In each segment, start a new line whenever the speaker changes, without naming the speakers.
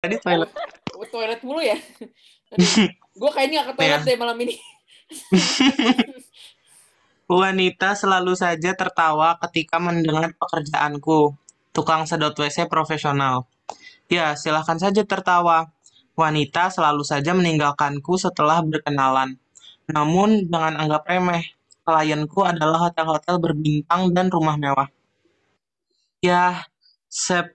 Tadi toilet.
Ke toilet mulu ya. Gue kayaknya nggak ke toilet
Iya.
deh malam ini.
Wanita selalu saja tertawa ketika mendengar pekerjaanku. Tukang sedot WC profesional. Ya, silahkan saja tertawa. Wanita selalu saja meninggalkanku setelah berkenalan. Namun, jangan anggap remeh. Klienku adalah hotel-hotel berbintang dan rumah mewah. Ya, sep...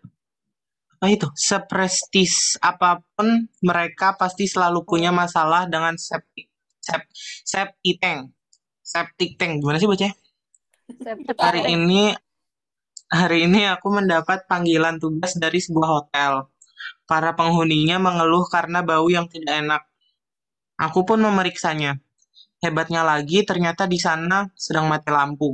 Apa itu? Seprestis apapun, mereka pasti selalu punya masalah dengan septic... Sep, septic tank. Septic tank. Gimana sih bocah?
Septic
Hari
tank.
ini hari ini aku mendapat panggilan tugas dari sebuah hotel. Para penghuninya mengeluh karena bau yang tidak enak. Aku pun memeriksanya. Hebatnya lagi, ternyata di sana sedang mati lampu.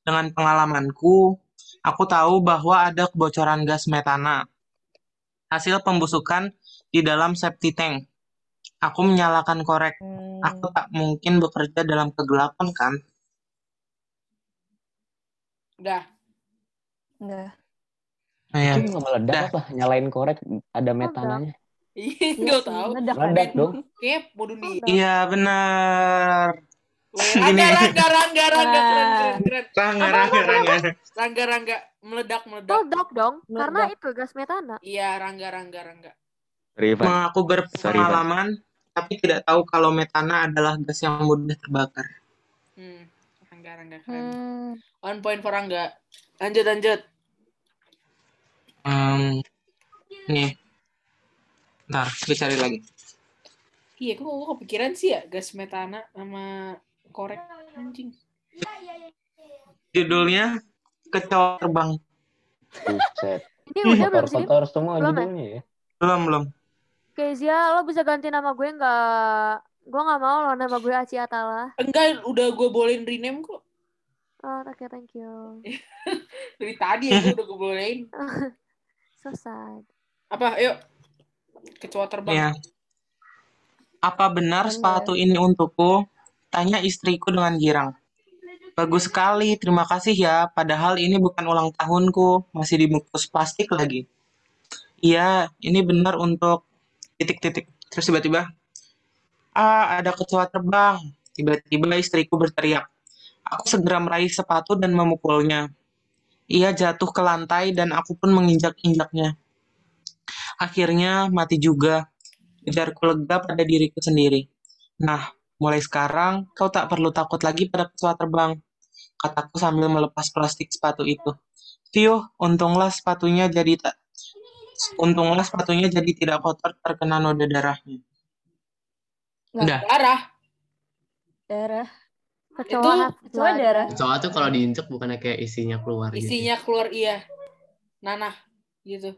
Dengan pengalamanku, aku tahu bahwa ada kebocoran gas metana. Hasil pembusukan di dalam septic tank. Aku menyalakan korek.
Hmm.
Aku tak mungkin bekerja dalam kegelapan kan?
Udah.
Udah.
Nah, ya.
Itu nggak meledak
Dah.
apa? Nyalain korek ada metananya.
Gak tau.
Iya,
Meledak
Meledak
kan?
dong.
Kayaknya bodoh di.
Meledak.
Iya benar.
Rangga, rangga, rangga, rangga, keren, keren, keren.
Rangga, rangga, rangga.
Rangga, rangga, meledak, meledak.
Meledak dong,
Meledak.
karena itu gas metana.
Iya, rangga, rangga, rangga.
Rivan.
Mengaku berpengalaman, tapi tidak tahu kalau metana adalah gas yang mudah terbakar.
Hmm, rangga, rangga, keren.
Hmm.
One point for rangga. Lanjut, lanjut.
Hmm, nih. Ntar, gue cari lagi.
Iya, kok gue kepikiran sih ya gas metana sama korek anjing.
Judulnya Kecoa Terbang.
Buset.
Ini udah belum sih?
Kotor-kotor semua
Belum ya?
judulnya ya.
Belum, belum.
Kezia, lo bisa ganti nama gue nggak? Gue nggak mau lo nama gue Aci Atala.
Enggak, udah gue bolehin rename kok.
Oh, oke, thank you.
Dari tadi ya gue udah gue bolehin.
So sad.
Apa, ayo. Kecoa terbang.
Ya. Apa benar
Benar.
sepatu ini untukku? Tanya istriku dengan girang. Bagus sekali, terima kasih ya. Padahal ini bukan ulang tahunku, masih dibungkus plastik lagi. Iya, ini benar untuk titik-titik. Terus tiba-tiba, ah ada kecoa terbang. Tiba-tiba istriku berteriak. Aku segera meraih sepatu dan memukulnya. Ia jatuh ke lantai dan aku pun menginjak-injaknya. Akhirnya mati juga ujarku lega pada diriku sendiri. Nah, mulai sekarang kau tak perlu takut lagi pada pesawat terbang, kataku sambil melepas plastik sepatu itu. Piuh, untunglah sepatunya jadi tak untunglah sepatunya jadi tidak kotor terkena noda darahnya. Udah,
Darah.
Darah.
Kecoa
Itu-
hati
kecoa
keluarga.
darah.
Kecoa tuh kalau diinjek bukannya kayak isinya keluar gitu.
Isinya keluar iya. Nanah gitu.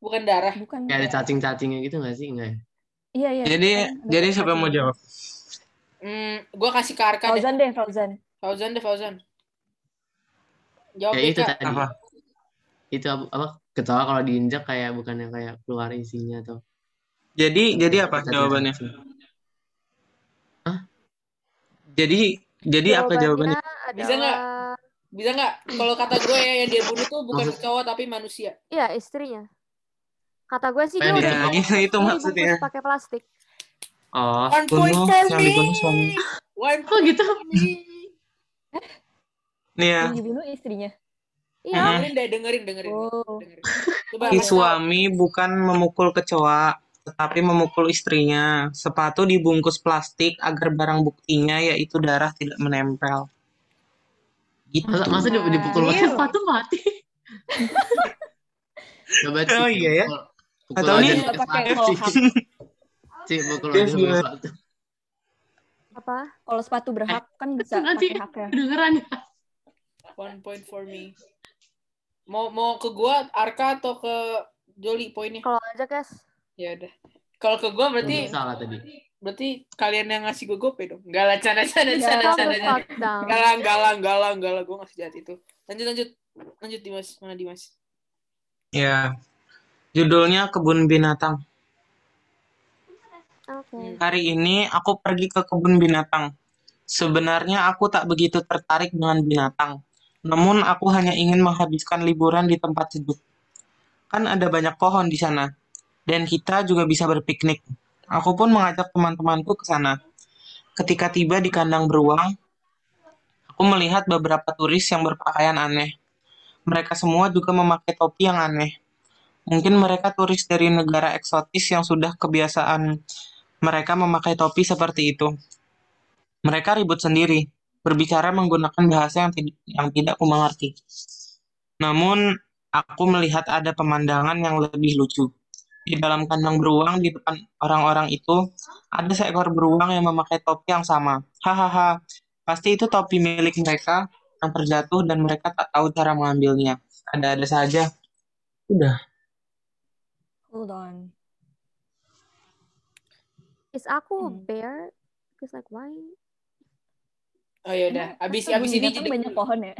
Bukan darah.
Bukan.
Kayak Iya, ada cacing-cacingnya gitu gak sih? Enggak ya?
Iya, iya.
jadi
Bukan.
jadi siapa yang mau jawab?
Hmm, gue kasih ke Arka deh.
Fauzan deh, Fauzan.
Fauzan deh, Fauzan. Jawab
Kayak
deh,
Ya itu
Kak.
tadi.
Apa?
Itu apa? apa? Kecoa kalau diinjek kayak bukannya kayak keluar isinya atau
Jadi jadi apa
Cacing-cacing.
jawabannya?
Hah?
Jadi jadi apa jawabannya?
Bisa nggak?
adalah-
Bisa nggak? Kalau kata gue ya, yang dia bunuh tuh bukan
Maksud-
cowok tapi manusia.
Iya, istrinya. Kata gue sih dia
Pengen
udah
Ya,
dibungkus-
itu
dia
maksudnya.
dibungkus pakai plastik.
Oh,
One point
bunuh,
for
yang
me.
dibunuh suami.
One
kok gitu?
Nih ya,
Yang dibunuh istrinya.
Eh.
Iya,
Mhm.
dengerin deh, dengerin, dengerin.
Oh.
dengerin. Coba
Si
kasih
suami bukan memukul kecoa, tetapi memukul istrinya. Sepatu dibungkus plastik agar barang buktinya yaitu darah tidak menempel. Gitu.
Masa, masa di- dipukul
Nah,
pakai
iya.
sepatu mati? Coba Ci,
Oh, iya ya?
pukul- Pukul
Atau
aja
ini-
pakai
Pakai
sepatu,
kolhak.
Ci. Ci, pukul aja
Terus
pakai
gimana?
sepatu.
apa?
Kalau sepatu berhak kan bisa
Nanti-
pakai haknya.
Kedengeran ya?
tahu. One point for me. Mau mau ke gue, Arka atau ke Joli poinnya?
Kalau aja, guys.
Ya udah. Kalau ke gue berarti
Salah tadi.
berarti kalian yang ngasih gue gope dong. Gak lah, canda, canda,
Iya, Enggak.
canda,
Calm
canda,
the
canda.
fuck down.
Galang, galang, galang, galang. Gue ngasih jahat itu. Lanjut, lanjut. Lanjut, Dimas. Mana Dimas?
Ya. Judulnya Kebun Binatang.
Oke.
Hmm.
Hari ini aku pergi ke kebun binatang. Sebenarnya aku tak begitu tertarik dengan binatang. Namun aku hanya ingin menghabiskan liburan di tempat sejuk. Kan ada banyak pohon di sana. dan kita juga bisa berpiknik. Aku pun mengajak teman-temanku ke sana. Ketika tiba di kandang beruang, aku melihat beberapa turis yang berpakaian aneh. Mereka semua juga memakai topi yang aneh. Mungkin mereka turis dari negara eksotis yang sudah kebiasaan mereka memakai topi seperti itu. Mereka ribut sendiri, berbicara menggunakan bahasa yang, tid- yang tidak kumengerti. Namun, aku melihat ada pemandangan yang lebih lucu. Di dalam kandang beruang di depan orang-orang itu, ada seekor beruang yang memakai topi yang sama. Hahaha, pasti itu topi milik mereka yang terjatuh dan mereka tak tahu cara mengambilnya. Ada-ada saja. Udah.
Hold on.
Is aku a
Hmm.
bear? Cause like why?
Oh ya udah,
Emang
abis
kebun
abis ini
binatang
jadi
banyak pohon ya.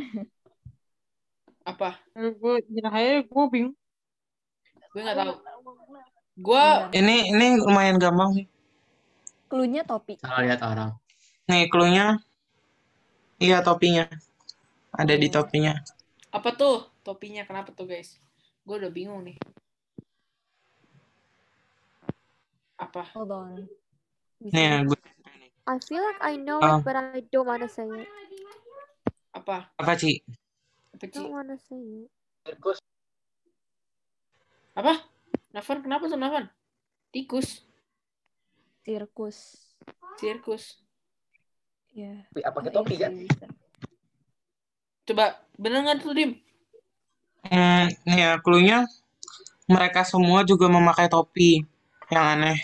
apa?
gue Eh, akhirnya gue bingung
Gue nggak tahu. Gue
Bentar.
Ini ini lumayan gampang sih.
Clue-nya topi.
Salah lihat orang.
Nih, clue-nya. Iya, topinya. Ada di topinya.
apa tuh topinya? Kenapa tuh guys? Gue udah bingung nih. Apa?
Hold on. Bisa.
Nih, ya, gue-
I feel like I know
Ah.
it, but I don't wanna say it.
Apa?
apa, Ci?
Apa Ci?
Don't wanna say it.
Apa? Nafan kenapa tuh Nafan? Tikus,
Sirkus.
sirkus.
Ya.
pakai
Oh,
topi
iya
kan
sih, bisa.
Coba bener nggak tuh Dim?
Hmm, nih ya, clue-nya. Mereka semua juga memakai topi. Yang aneh.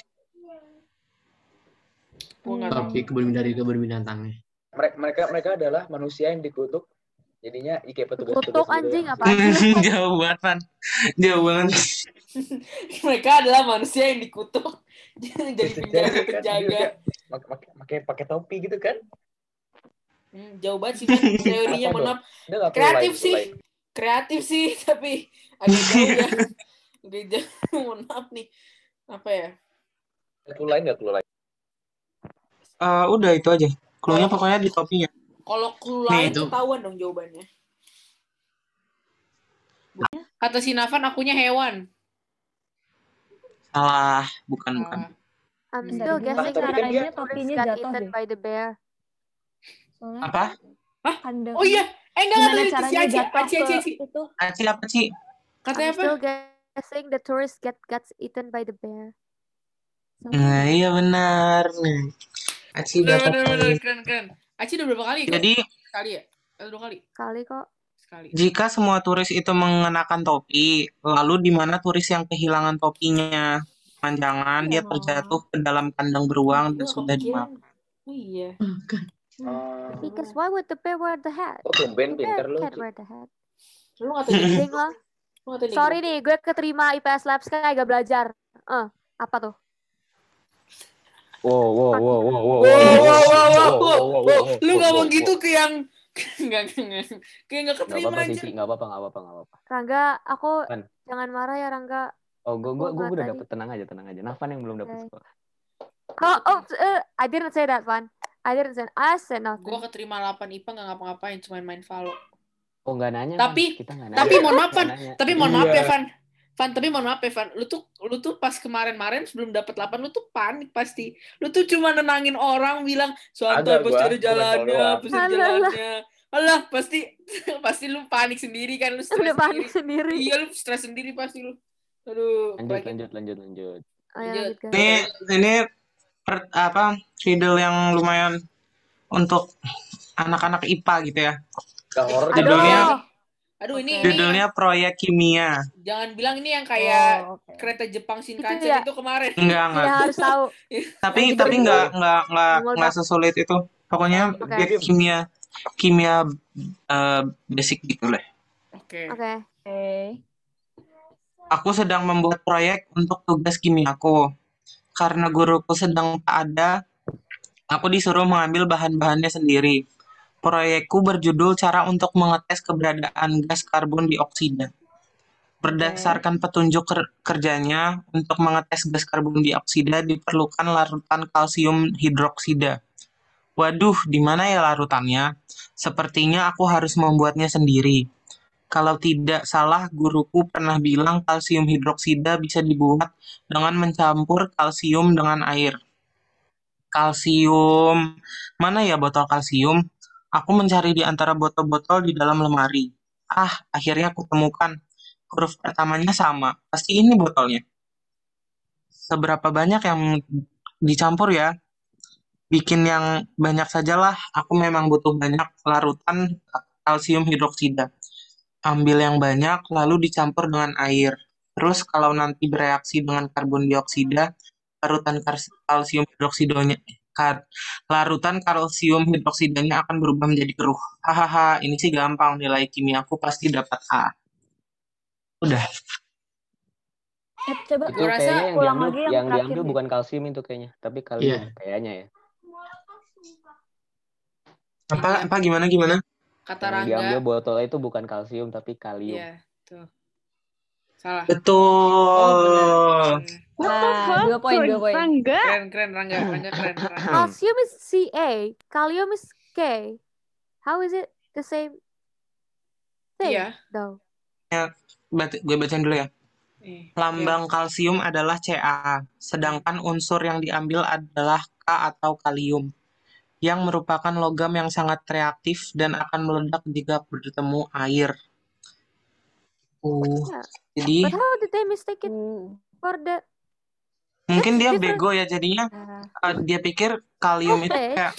Gue nggak
Hmm.
tahu.
Tapi kebun dari kebun ya. binatangnya.
mereka mereka mereka adalah manusia yang dikutuk jadinya ya, kayak petugas
Kutuk anjing apa?
Jauh banget, Pan. Jauh banget.
Mereka adalah manusia yang dikutuk jadi
kan gitu
penjaga-penjaga.
pakai pakai topi gitu kan
Hmm, jauh banget sih Pan. teorinya
Apa
mohon
dong?
maaf.
Dia nggak perlu
Kreatif
lain-
sih.
lain.
Kreatif sih, tapi agak jauh ya. Agak jauh, mohon maaf nih. Apa ya?
Nggak perlu lain nggak perlu lain
Eh, udah itu aja. Clue-nya pokoknya di topinya.
Kalau clue lain
Nih, itu.
ketahuan dong jawabannya. Kata si Nafan, akunya hewan.
Salah, bukan bukan.
Ah,
I'm still
Bentar, ini
guessing
topi
that
kan
I
dia-
think
topinya
got
jatuh
eaten
deh.
by the bear.
Soalnya
Apa?
Kandang.
Oh iya, eh enggak
Gimana
enggak tadi si
caranya
Aci,
jatuh
Aci, Aci, Aci.
ke itu?
Aci apa Ci?
Katanya
I'm
apa?
still guessing the tourists get guts eaten by the bear.
Nah, iya benar. Nah, Aci
Bener,
udah
bener, bener,
topi.
keren, keren. Aci udah berapa kali?
Jadi,
Sekali ya? Atau dua kali?
Kali kok.
Sekali.
jika semua turis itu mengenakan topi, lalu di mana turis yang kehilangan topinya? Jangan-jangan dia
Iya.
terjatuh ke dalam kandang beruang dan
Gua
sudah
kepikiran.
dimakan.
Oh iya.
Ah,
Because why would the bear wear the hat?
kok Oh, tumben
The
Kan pinter
bear
lu
can't
Ci.
wear the hat.
Lu nggak tahu jadi-
Ding
lu
lah.
nggak tahu jadi-
Sorry nih, gue keterima IPS Labs kan gak belajar. Eh, apa tuh?
Wow, wow, wow, wow, wow, wow,
Wow, wow, wow, wow,
wow, wow, wow, wow,
wow.
wow,
Lu
wow,
ngomong
wow,
gitu
wow.
ke yang Enggak, enggak. Kayak enggak
Nggak
keterima
apa-apa sih,
anjir.
Ci. Nggak apa-apa, nggak apa-apa, nggak apa-apa.
Rangga, aku
Apaan?
jangan marah ya Rangga.
Oh, gue gue
Gua
gue
nggak
udah
tadi.
dapet tenang aja, tenang aja. Nafan yang belum dapet
Oke.
sekolah.
Oh, oh, eh, I didn't say that one. I didn't say. I said nothing.
Gua keterima 8 IPA enggak ngapa-ngapain, cuman main Valo.
Oh, nggak nanya.
Tapi-
Fan. kita nggak nanya.
Tapi mohon maaf, Van.
Nggak nanya.
Tapi mohon maaf ya,
Iya.
Van. Van, tapi mohon maaf ya, Van. Lu tuh lu tuh pas kemarin-kemarin sebelum dapat 8 lu tuh panik pasti. Lu tuh cuma nenangin orang bilang santai
Agak
pasti
gua,
ada
gua
jalannya,
doang.
pasti ada
Alah, alah.
jalannya. Alah, pasti pasti lu panik sendiri kan lu stres
udah panik
sendiri.
sendiri.
Iya, lu stres sendiri pasti lu. Aduh,
Lanjut,
apalagi-
lanjut, lanjut, lanjut.
Lanjut.
Ayo, Oh, ya, lanjut, guys.
Ini ini per- apa? Riddle yang lumayan untuk anak-anak IPA gitu ya.
Nggak horor
Aduh,
judulnya-
Aduh, ini
Oke.
ini yang-
Judulnya proyek kimia.
jangan bilang ini yang kayak
Oh, oke.
kereta Jepang Shinkansen
ya.
itu kemarin.
Enggak, enggak.
Kita harus tahu.
tapi
Yang
tapi
diberi-
nggak nggak nggak
Yang
nggak
meledak.
sesulit itu pokoknya
Oke.
dia kimia kimia eh, basic gitu lah
Oke.
Oke.
Oke.
aku sedang membuat proyek untuk tugas kimiaku karena guruku sedang tak ada aku disuruh mengambil bahan-bahannya sendiri proyekku berjudul cara untuk mengetes keberadaan gas karbon dioksida Berdasarkan petunjuk ker- kerjanya, untuk mengetes gas karbon dioksida diperlukan larutan kalsium hidroksida. Waduh, di mana ya larutannya? Sepertinya aku harus membuatnya sendiri. Kalau tidak salah, guruku pernah bilang kalsium hidroksida bisa dibuat dengan mencampur kalsium dengan air. Kalsium, mana ya botol kalsium? Aku mencari di antara botol-botol di dalam lemari. Ah, akhirnya aku temukan. Huruf pertamanya sama. Pasti ini botolnya. Seberapa banyak yang dicampur ya? Bikin yang banyak sajalah. Aku memang butuh banyak larutan kalsium hidroksida. Ambil yang banyak, lalu dicampur dengan air. Terus kalau nanti bereaksi dengan karbon dioksida, larutan kars- kalsium hidroksidanya kar- larutan kalsium hidroksidanya akan berubah menjadi keruh. Hahaha, ini sih gampang nilai kimia aku pasti dapat A. Udah.
Eh, coba
Itu
Gua rasa
kayaknya yang
ulang
diambil
lagi
yang,
yang terakhir
diambil
deh.
bukan kalsium itu kayaknya, tapi
Iya.
kalium kayaknya ya.
Apa apa gimana gimana?
Kata
Yang
Rangga.
diambil botolnya itu bukan kalsium tapi kalium.
Iya, tuh. Salah.
Oh. Betul.
benar.
Nah, dua poin, dua poin.
Enggak.
Keren, keren Rangga. Rangga keren. Rangga.
Calcium is Ca, kalium is K. How is it the same thing
Iya.
though?
Bat- gue bacain dulu ya.
Nih,
Lambang kalsium adalah Ca, sedangkan unsur yang diambil adalah K atau kalium, yang merupakan logam yang sangat reaktif dan akan meledak jika bertemu air. Oh,
Yeah. But
jadi
how did they mistake it for the
mungkin
that's
dia
different.
bego ya jadinya
Nah,
Ah,
eh, dia pikir kalium itu
Stupid.
kayak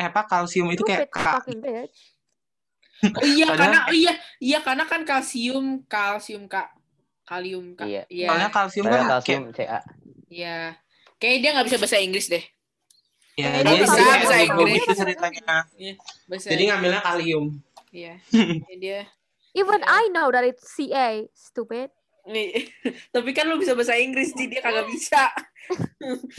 eh apa kalsium itu kayak
stupid
K.
fucking bitch.
Oh, iya,
Padahal-
karena iya, iya karena kan kalsium, kalsium Kak. Kalium Kak.
Iya.
Iya.
Soalnya kalsium
Padahal
kan
kalsium
kayak
Ca.
Iya. Kayaknya dia nggak bisa bahasa Inggris deh.
ya, dia
Kayaknya kalsium
jadi kayak
bahasa
bego
Inggris.
gitu ceritanya.
Bahasa
Jadi ngambilnya kalium.
Iya. Kayaknya dia
Even
Yeah.
I know that it's Ca. Stupid.
Nih, tapi kan lu bisa bahasa Inggris, jadi dia kagak bisa.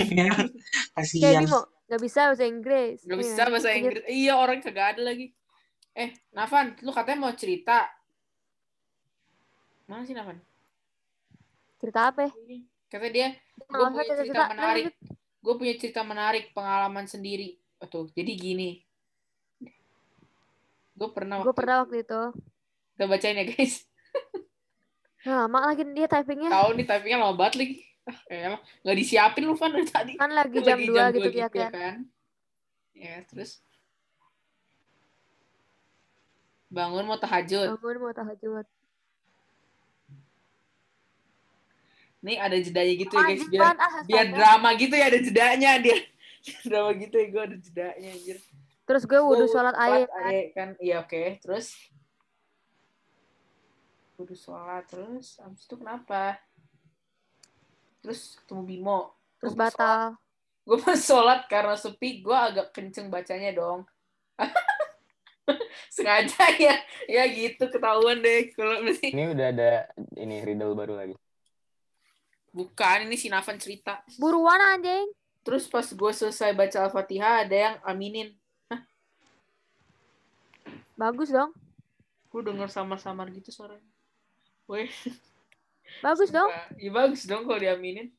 Ya,
Kayak
Kasihan.
Bimo, nggak bisa bahasa Inggris.
Gak
Iya,
bisa bahasa
lanjut.
Inggris. Iya, orang kagak ada lagi. Eh, Navan, lu katanya mau cerita. Mana sih Navan?
Cerita apa? ya?
Katanya dia, gue
Nggak usah
punya cerita
cerita-cerita.
menarik.
Lanjut.
Gue punya cerita menarik, pengalaman sendiri. Oh, tuh, jadi gini. Gue pernah
Gue
waktu
pernah waktu itu.
Kita bacain ya, guys.
Nah, mak lagi dia typingnya.
Tahu nih, tapi kan lama banget lagi. Ah, eh, emang gak disiapin lu, Van, dari tadi.
Kan lagi
Lagi
jam 2
dua
gitu ya kan.
kan. Ya, terus. Bangun mau tahajud.
Bangun "Ya mau tahajud.
Nih ada jedanya gitu ya guys
Anjing
biar
Pan, ah,
biar
astaga.
drama gitu ya ada jedanya dia. drama gitu ya gue ada jedanya anjir.
Terus gue
Gua
wudhu sholat air.
Oh, sholat air kan. Iya oke, terus kudu sholat terus abis itu kenapa? Terus ketemu Bimo.
Terus
Gua mau sholat-
batal.
Gua pas sholat karena sepi gue agak kenceng bacanya dong. Sengaja ya. Ya gitu ketahuan deh kalau
Ini udah ada ini riddle baru lagi.
bukan ini si Navan cerita.
Buruan anjing.
Terus pas gue selesai baca Al-Fatihah ada yang aminin.
Bagus dong.
Gue denger samar-samar gitu suaranya. Weh,
Bagus dong.
sumpah. Iya bagus dong kalau diaminin.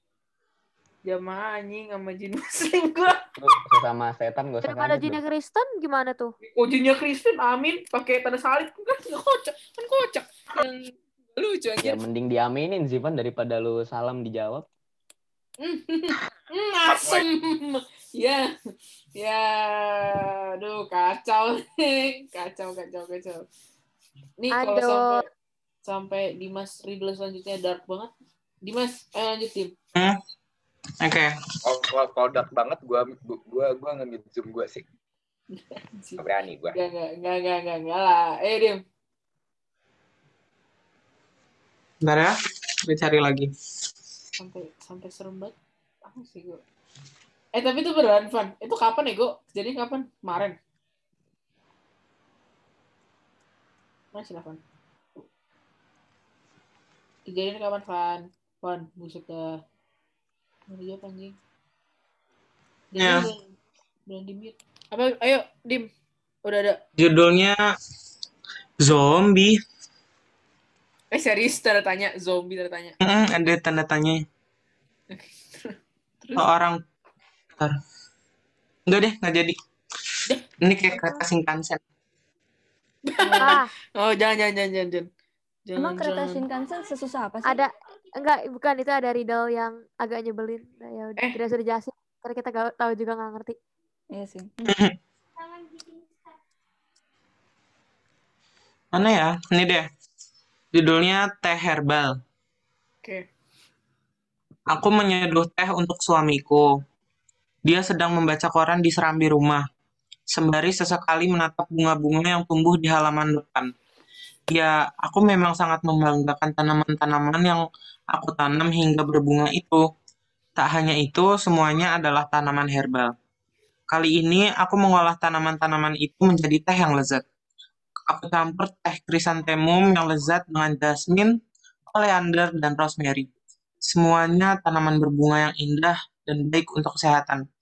Jamaah anjing sama jin muslim gue.
Lu sesama setan gak usah
Daripada
kaget.
jinnya
dong.
Kristen gimana tuh?
Iya, Ujungnya Kristen, amin. Pakai tanda salib. Kan nggak kocak. Kan kocak. Yang lucu anjir.
Ya mending diaminin sih Van daripada lu salam dijawab.
Hmm, asem. Ya. Ya. Aduh, kacau. Kacau, kacau, kacau. Nih kalau
Aduh.
sampai sampai Dimas Riddle selanjutnya dark banget. Dimas, ayo lanjut Dim.
Oke.
Kalau- Kalau kalau dark banget, gua gua gua nge zoom gua sih. Gak berani gua.
Enggak, enggak, enggak, enggak, enggak, enggak lah. Ayo, Dim.
Bentar ya, gue cari lagi.
Sampai, sampai serem banget. Apa sih gue? Eh, tapi itu beneran, Van. Itu kapan ya, gue? Jadi kapan? Kemarin. Masih lah, Van. Kejadian kapan, Van? Van, buset dah. Ngeri ya, anjing. Jadi
Ya.
udah, udah di mute. Apa, ayo, Dim. Udah ada.
Judulnya Zombie.
Eh, serius, tanda tanya. Zombie tanda tanya.
Mm, ada tanda tanya. Seorang Bentar. Enggak deh, nggak jadi. Ini kayak kata singkansen.
Ah,
Oh, jangan, jangan, jangan, jangan. jangan. Jangan,
Emang kereta
jangan.
Shinkansen sesusah apa sih?
ada enggak bukan itu ada riddle yang agak nyebelin. Nah, ya udah
Eh.
tidak usah dijelasin karena kita gak tahu juga nggak ngerti.
Iya sih.
Mana ya? Ini deh. Judulnya Teh Herbal.
Oke.
Aku menyeduh teh untuk suamiku. Dia sedang membaca koran di serambi rumah. Sembari sesekali menatap bunga-bunga yang tumbuh di halaman depan. Ya, aku memang sangat membanggakan tanaman-tanaman yang aku tanam hingga berbunga itu. Tak hanya itu, semuanya adalah tanaman herbal. Kali ini aku mengolah tanaman-tanaman itu menjadi teh yang lezat. Aku campur teh krisantemum yang lezat dengan jasmine, oleander, dan rosemary. Semuanya tanaman berbunga yang indah dan baik untuk kesehatan.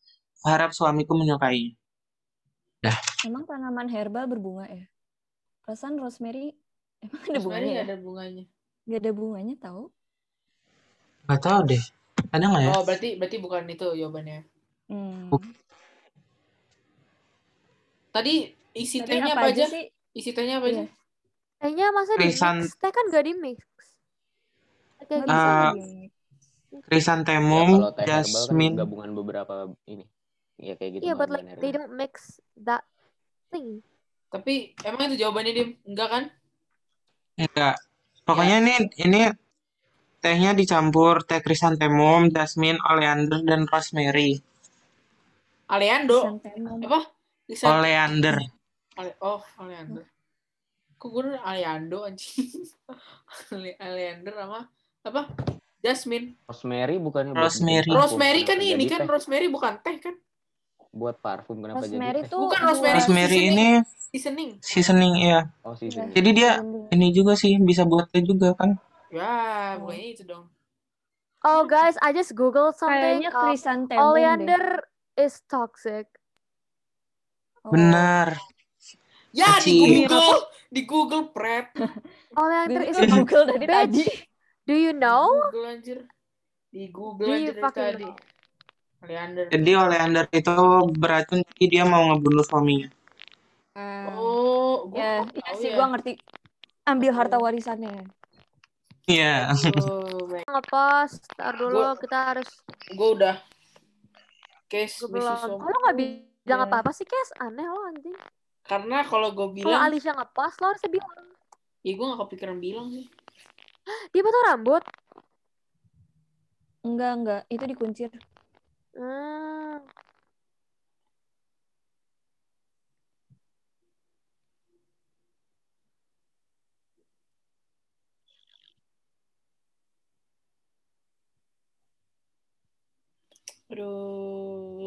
Harap suamiku menyukainya.
Emang tanaman herbal berbunga ya? Perasaan rosemary emang ada
Terus
bunganya
Mary
ya?
nggak ada bunganya.
Gak ada bunganya tahu?
Gak tau deh, ada nggak ya?
Oh, berarti berarti bukan itu jawabannya.
Hmm.
Bukan.
Tadi isi
Tapi
tehnya
apa aja sih?
Isi tehnya apa
Iya.
aja?
Tehnya masa di
Krisan-
mix? Teh kan gak di mix. Kayak
Nggak
gitu.
bisa
Eh,
nggak di-
Ya,
Krisantemum,
kalau teh herbal kan
jasmine,
gabungan beberapa ini. Iya kayak gitu.
Iya, but like
bahan-bahan
they
herbal.
don't mix that thing.
Tapi emang itu jawabannya Dim? Enggak kan?
enggak. ya
Ya.
Pokoknya ini ini tehnya dicampur teh krisantemum, jasmine, oleander, dan rosemary.
Iya.
Aleando.
Santemum.
Apa? Bisa.
Oleander.
Ale- oh, Aleander. Kok gue denger Aleando anjing. Ale- Aleander sama apa? Jasmine.
Rosemary bukan buat
Rosemary.
bikin parfum,
Rosemary kan
kenapa
ini
jadi
kan
teh?
rosemary bukan teh kan?
buat parfum kenapa eh?
Rosemary
jadi teh?
tuh
Bukan
buah-
rosemary.
Rosemary
seasoning.
ini
Seasoning.
seasoning ya.
Oh seasoning.
Jadi dia
Seasoning.
ini juga sih bisa buat teh juga kan.
Oh.
Ya, bukannya itu dong.
Oh guys, I just googled something.
Kayaknya
Uh,
krisantemum deh.
oleander is toxic.
Oh.
Benar.
Ya,
Aci.
di Google, di Google Pret.
Oleander
Bibi
is
tuh Google dari
Bitch.
tadi.
Do you know?
Di Google anjir. Di Google
Do you
anjir dari
fucking
tadi. Aleander.
Jadi oleander itu beracun jadi dia mau ngebunuh suaminya.
Oh, gue
Ah. ya, iya sih gua ngerti. Ambil harta warisannya.
Iya.
Ngepost. Ntar dulu
Gua-
kita harus
Gue udah. Case
gue
Mrs.
belum.
Om.
Kalau nggak bilang
Iya.
apa-apa sih, Kes? Aneh lo anjing.
Karena kalau gue
Kalau
bilang,
Alicia ngepost, lo harusnya bilang.
ya gue gak kepikiran bilang sih.
Dia potong rambut.
Enggak, enggak. Itu dikuncir.
Hmm.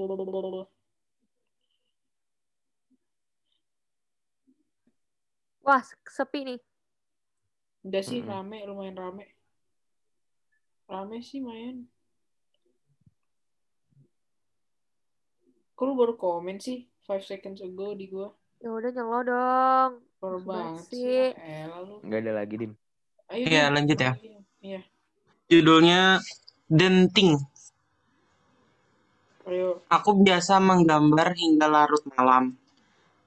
Aduh.
Wah, sepi nih.
Udah sih
Mm-mm.
rame, lumayan rame. Rame sih main. Kok lu baru komen sih? 5 seconds ago di gue.
Ya udah nyelo dong.
Baru banget
Banget
sih.
sih.
Ya elah lu.
Nggak ada lagi dim.
Ayo,
Iya,
Dim.
lanjut ya.
Iya.
Judulnya Denting.
Ayo.
Aku biasa menggambar hingga larut malam.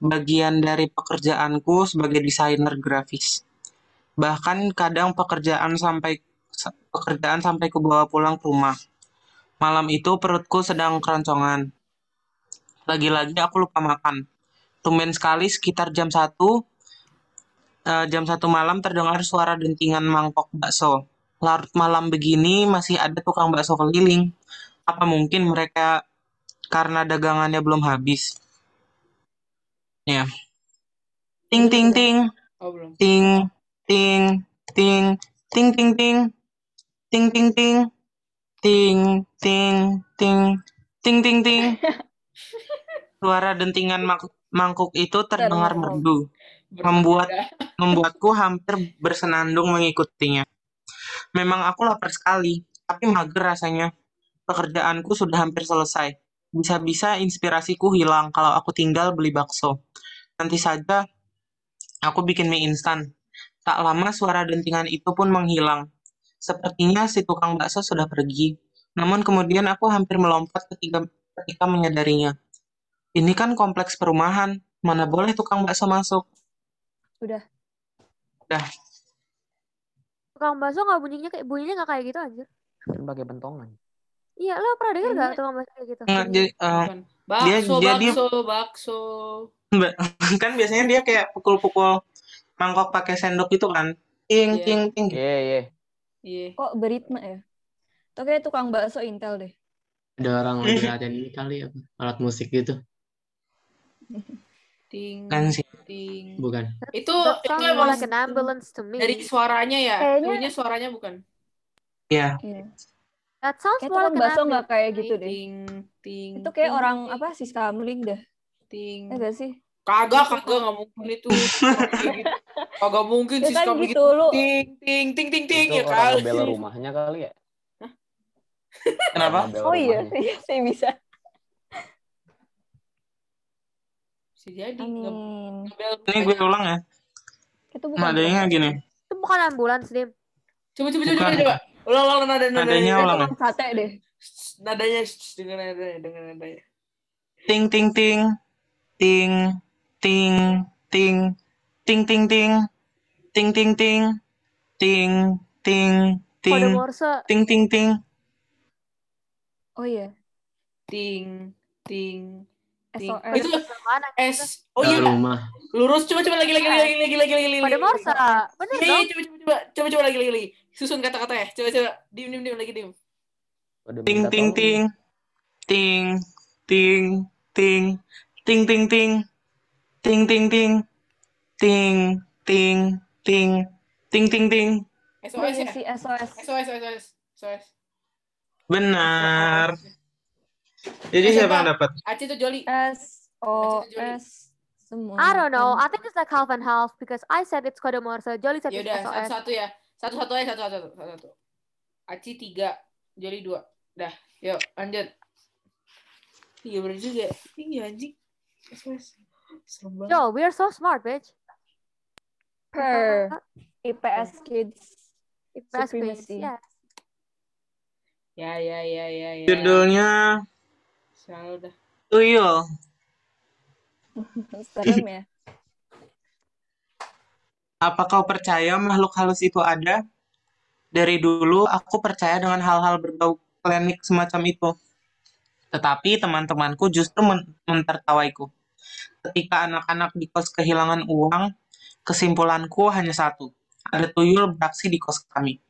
Bagian dari pekerjaanku sebagai desainer grafis. Bahkan kadang pekerjaan sampai sa- pekerjaan sampai ku bawa pulang ke rumah. Malam itu perutku sedang keroncongan. Lagi-lagi aku lupa makan. Tumben sekali sekitar jam 1 eh, jam 1 malam terdengar suara dentingan mangkok bakso. Larut malam begini masih ada tukang bakso keliling. Apa mungkin mereka karena dagangannya belum habis? Ya. Ting ting ting.
Oh, belum.
ting ting ting ting ting ting ting ting ting ting ting ting ting ting ting suara dentingan mangkuk, mangkuk itu terdengar
Bentar, bentar.
merdu Membuat-
Berbeda.
membuatku hampir bersenandung mengikutinya memang aku lapar sekali tapi mager rasanya pekerjaanku sudah hampir selesai bisa-bisa inspirasiku hilang kalau aku tinggal beli bakso nanti saja aku bikin mie instan tak lama suara dentingan itu pun menghilang Sepertinya si tukang bakso sudah pergi. Namun kemudian aku hampir melompat ketika, ketika menyadarinya. Ini kan kompleks perumahan, mana boleh tukang bakso masuk.
Udah.
Udah.
Tukang bakso nggak bunyinya kayak bunyinya nggak kayak gitu anjir.
Kan pakai pentongan.
Iya, lo pernah denger nggak
Bunyinya-
tukang bakso kayak gitu?
Nggak, jadi, eh,
Bukan. Bakso,
dia- dia-
bakso, bakso.
kan biasanya dia kayak pukul-pukul mangkok pakai sendok gitu kan. Ting,
Iya.
ting, ting.
Iya, iya.
Iya.
Kok beritma ya? Tuh kayak tukang bakso Intel deh.
Ada orang lagi latihan ini kali ya, apa? Alat musik gitu.
Ting,
Kan sih.
ting.
Bukan.
Itu
That
itu
sounds
emang
like an ambulance to me.
dari suaranya ya.
Kayaknya-
Kayaknya suaranya bukan.
Iya.
Iya.
That sounds
Kayak
more
tukang
like an
bakso
ambulance.
ya?
nggak kayak gitu deh.
Ting, ting.
Itu kayak
ting,
orang
ting,
apa sih Skamling dah.
Ting.
Ya gak sih?
Kagak, kagak nggak mungkin itu. Kayak gitu. Kagak mungkin
Ya
sih
kan
suka
gitu lu.
Ting, ting, ting, ting, ting. Ya
Itu orang
kali.
ngebel rumahnya kali ya.
Kenapa?
Ngebel
Oh iya,
rumahnya.
iya saya bisa.
Bisa jadi. nge-
Amin.
ngebel
Ini gue
rumahnya.
ulang ya.
Itu bukan
Nadanya
tukang
gini.
Itu bukan ambulans, Dim.
Coba, coba, coba,
Bukan.
coba, coba. Ulang, ulang, nada, nada,
Nadanya
nada.
bakso.
ulang ya.
Tukang sate deh.
Shh, Nadanya, shh, dengan nadanya, dengan nadanya.
Ting, ting, ting. Ting, ting, ting. Ting, ting, ting. Ting, ting, ting. Ting, ting, ting.
Kode Morse.
Ting, ting, ting.
Oh iya,
Ting, ting, ting.
SOS.
Itu
Apaan, anjir?
S.
Nah,
Oh
Bel
iya,
rumah.
lurus. Coba, coba lagi, lagi, lagi, lagi, lagi, lagi, lagi.
Kode Morse. Bener
Iya,
dong.
iya, coba, coba, coba, coba, coba lagi, lagi, lagi. Susun kata-kata ya. Coba, coba. Dim, dim, dim, lagi, dim.
Udah
Ting,
minta
ting,
tolong.
ting. Ting, ting, ting. Ting, ting, ting. Ting, ting, ting. Ting, ting, ting. Ting, ting, ting.
SOS ya.
Misi SOS.
SOS, SOS, SOS.
Benar. Jadi siapa yang dapat?
Aceh itu Joli.
SOS. Semua.
I
Kan
don't know. I think it's like half and half because I said it's kode Morse. Jolly said it's
Yaudah,
SOS.
satu-satu ya. Satu-satu aja, satu-satu. satu-satu. Aci tiga, Joli dua. Dah, yuk lanjut. Iya bener juga. Iya anjing. SOS. Serem banget.
Yo, we are so smart, bitch.
Per IPS Kids.
Impress, bitch.
Supremacy.
Yes.
Ya, ya, ya, ya, ya.
Judulnya
Selalu dah.
Tuyul.
Serem ya.
Apa kau percaya makhluk halus itu ada? Dari dulu aku percaya dengan hal-hal berbau klinik semacam itu. Tetapi teman-temanku justru men- mentertawaiku. Ketika anak-anak di kos kehilangan uang, kesimpulanku hanya satu. Ada tuyul beraksi di kos kami.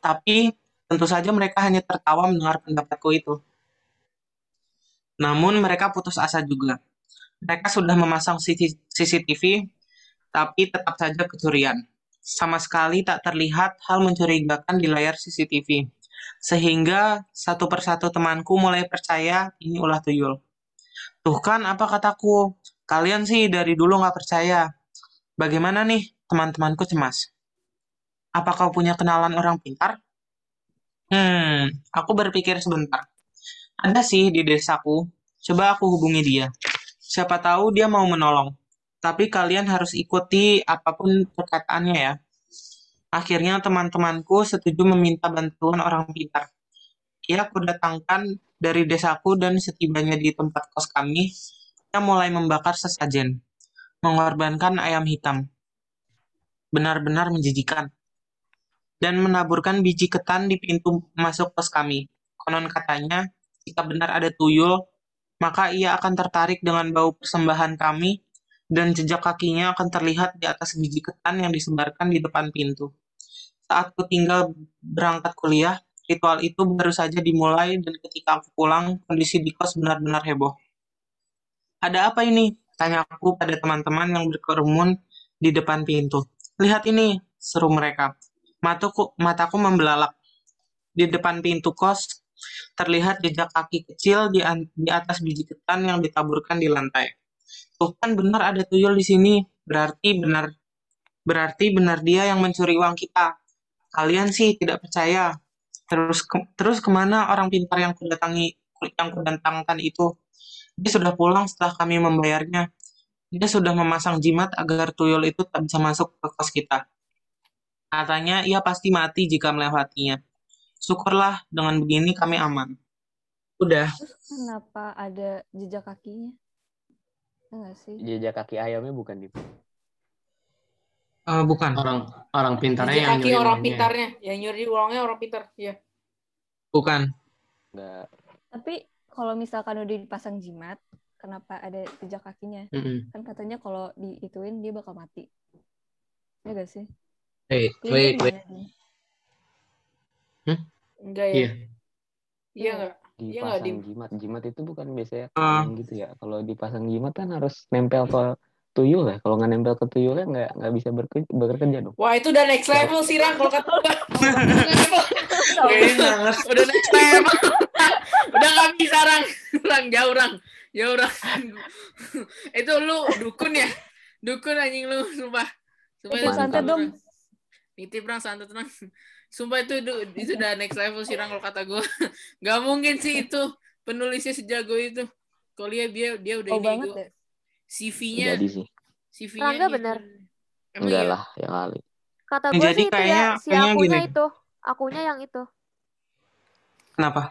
Tapi tentu saja mereka hanya tertawa mendengar pendapatku itu. Namun mereka putus asa juga. Mereka sudah memasang CC CCTV, tapi tetap saja kecurian. Sama sekali tak terlihat hal mencurigakan di layar CCTV. Sehingga satu persatu temanku mulai percaya ini ulah tuyul. Tuh kan apa kataku, kalian sih dari dulu nggak percaya. Bagaimana nih teman-temanku cemas? Apa kau punya kenalan orang pintar? Hmm, aku berpikir sebentar. Ada sih di desaku, coba aku hubungi dia. Siapa tahu dia mau menolong. Tapi kalian harus ikuti apapun perkataannya ya. Akhirnya teman-temanku setuju meminta bantuan orang pintar. Ia kudatangkan dari desaku dan setibanya di tempat kos kami, ia mulai membakar sesajen, mengorbankan ayam hitam. Benar-benar menjijikan. Dan menaburkan biji ketan di pintu masuk kos kami. Konon katanya, jika benar ada tuyul, maka ia akan tertarik dengan bau persembahan kami dan jejak kakinya akan terlihat di atas biji ketan yang disebarkan di depan pintu. Saat ku tinggal berangkat kuliah, ritual itu baru saja dimulai dan ketika aku pulang, kondisi di kos benar-benar heboh. Ada apa ini? Tanya aku pada teman-teman yang berkerumun di depan pintu. Lihat ini, seru mereka. Mataku, mataku membelalak. Di depan pintu kos, terlihat jejak kaki kecil di, an- di atas biji ketan yang ditaburkan di lantai. Tuh kan benar ada tuyul di sini. Berarti benar berarti benar dia yang mencuri uang kita. Kalian sih tidak percaya. Terus ke- terus kemana orang pintar yang kudatangi yang kudatangkan itu? Dia sudah pulang setelah kami membayarnya. Dia sudah memasang jimat agar tuyul itu tak bisa masuk ke kos kita. Katanya ia pasti mati jika melewatinya. Syukurlah dengan begini kami aman. Udah.
Kenapa ada
Iya.
jejak kakinya? Enggak sih.
Jejak kaki ayamnya bukan di
Eh, bukan.
Orang orang pintarnya yang
Kaki
nyuri
orang
uangnya.
pintarnya, yang nyuri uangnya orang pintar. Iya.
Bukan.
Enggak.
Tapi kalau misalkan udah dipasang jimat, kenapa ada jejak kakinya?
Mm-mm.
Kan katanya kalau diituin dia bakal mati. Ya gak sih?
Wait,
Jadi
wait,
dia
wait.
gimana? ya?
Enggak ya.
Iya.
Iya enggak? Iya nggak,
Dipasang
Dim?
jimat. Jimat itu bukan biasanya
Ah.
kaleng gitu ya. Kalau dipasang jimat kan harus nempel ke tuyul ya. Kalau nggak nempel ke tuyulnya nggak nggak bisa berke- bekerja dong.
Wah, itu udah next level sih, Rang. Kalau kata gua.
Kayaknya nggak ngerti.
udah next level. udah gak bisa, Rang. Rang, jauh, Rang. Jauh, Rang. itu lu dukun ya? Dukun anjing lu, sumpah. Sumpah
Ikut
Mantap.
santet
dukun,
dong.
Rang. Nitip Rang, santet Rang. Sumpah itu du- itu udah next level sih, Rang, kalau kata gua. Gak mungkin sih itu penulisnya sejago itu. Kalau dia dia dia udah
Oh
ini
banget
gua-
deh.
CV-nya
Jadi sih.
CV-nya
Rangga
dia-
bener.
Iya. gitu. Emang
Enggak
iya?
lah ya kali.
Kata
Nah,
gue
jadi
sih itu
kayaknya-
ya si
kayaknya
akunya
gini.
itu. Akunya yang itu.
Kenapa?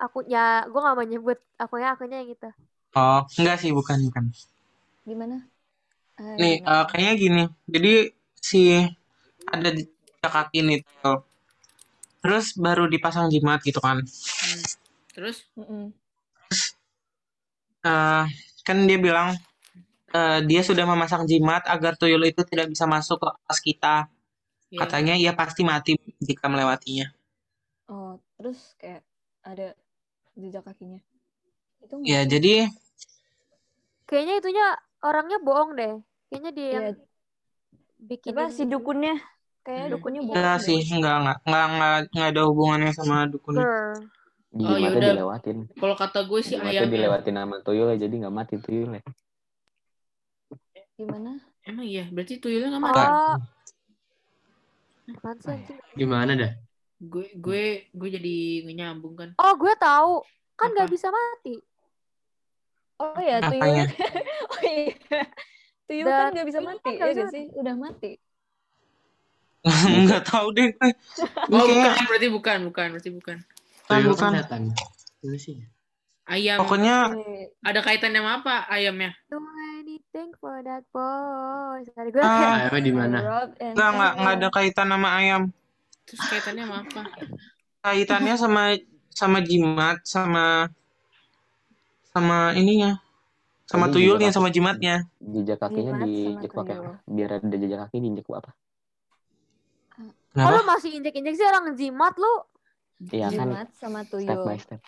Aku ya gue gak mau nyebut akunya akunya yang itu.
Oh, enggak sih, bukan, bukan.
Gimana? Ah,
Nih,
gimana?
eh, kayaknya gini. Jadi si ada jejak kaki nih, Tel. Terus baru dipasang jimat gitu kan.
Hmm. Terus
Mm-mm.
Eh, kan dia bilang eh, dia sudah memasang jimat agar tuyul itu tidak bisa masuk ke atas kita.
Iya.
Katanya ia pasti mati jika melewatinya.
Oh, terus kayak ada jejak kakinya. Itu nggak
Ya,
sih?
jadi
Kayaknya itunya orangnya bohong deh. Kayaknya dia yang
Iya,
bikin
Coba si dukunnya
Iya
kayak
Hmm.
dukunnya bohong.
enggak
deh.
sih, enggak, enggak, enggak, enggak, enggak ada hubungannya sama dukun.
Girl.
Oh,
Jimatnya
yaudah. ya.
dilewatin.
kalau kata gue sih
Jimatnya
ayamnya.
dilewatin sama tuyulnya jadi nggak mati tuyulnya.
Gimana?
Emang iya, berarti tuyulnya gak mati.
Bukan.
Oh. Apaan sih
Ah,
anjing?
Gimana dah?
Gue gue gue jadi nyambung kan.
Oh gue tahu. Kan
Apa?
gak bisa mati.
Oh ya,
Apanya?
tuyulnya. oh iya. Tuyul
Dan
kan nggak bisa
tuyul kan
mati,
nggak
ya
bisa
nggak sih? Udah mati.
Enggak tahu deh gue. Gue
Oh,
kayaknya-
bukan, berarti bukan, bukan, berarti bukan.
bukan,
Tuyul
bukan.
kan setan. Gimana sih?
Ayam
Pokoknya
Iya.
ada kaitannya sama apa ayamnya?
Do anything for that boy. Sorry gue
Ah,
kayak
Ayamnya di mana?
I robbed and
enggak, enggak,
I
enggak ada kaitan sama ayam.
Terus kaitannya sama apa?
Kaitannya sama sama jimat, sama sama ininya, sama
Tadi
tuyulnya,
jejak kaki-
sama jimatnya.
Jejak kakinya
Jimat sama
diinjek pakai
tuyul.
apa? Biar ada jejak kaki diinjek apa?
Oh
Kenapa?
lu masih injek-injek sih orang jimat lu.
Iya kan
Jimat sama
step by
tuyul.
step.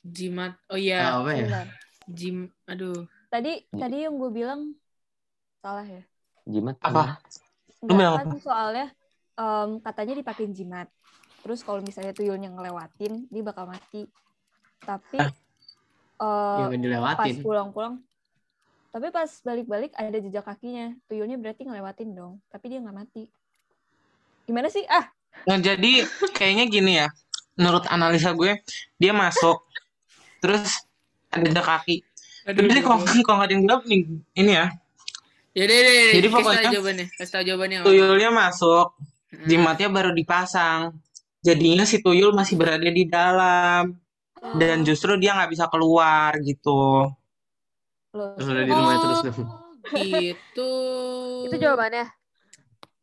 Jimat. Oh
Ah,
iya,
apa ya?
Sebentar.
jim. Aduh.
Tadi
Ji-
tadi yang gue bilang salah ya.
Jimat
Apa?
gimana?
Lu bilang
Enggak kan soalnya em, katanya dipakein jimat. Terus kalau misalnya tuyulnya ngelewatin, dia bakal mati. Tapi eh,
Iya,
Yang
pas
Ya, dilewatin.
pulang-pulang, tapi pas balik-balik ada jejak kakinya. Tuyulnya berarti ngelewatin dong. Tapi dia nggak mati. Gimana sih? Ah,
Nah, jadi kayaknya gini ya. Menurut analisa gue, dia masuk terus ada jejak kaki. Jadi
Aduh.
kalau kalau nggak ada yang jawab nih, ini ya,
Jadi, jadi,
Jadi
jadi pokoknya
pokoknya-
jawabannya. Kasih tahu jawabannya.
tuyulnya masuk,
Hmm.
jimatnya baru dipasang. Jadinya si tuyul masih berada di dalam dan
Oh.
justru dia nggak bisa keluar gitu.
loh.
Terus udah di
Oh,
rumahnya terus dong.
gitu.
Itu jawabannya.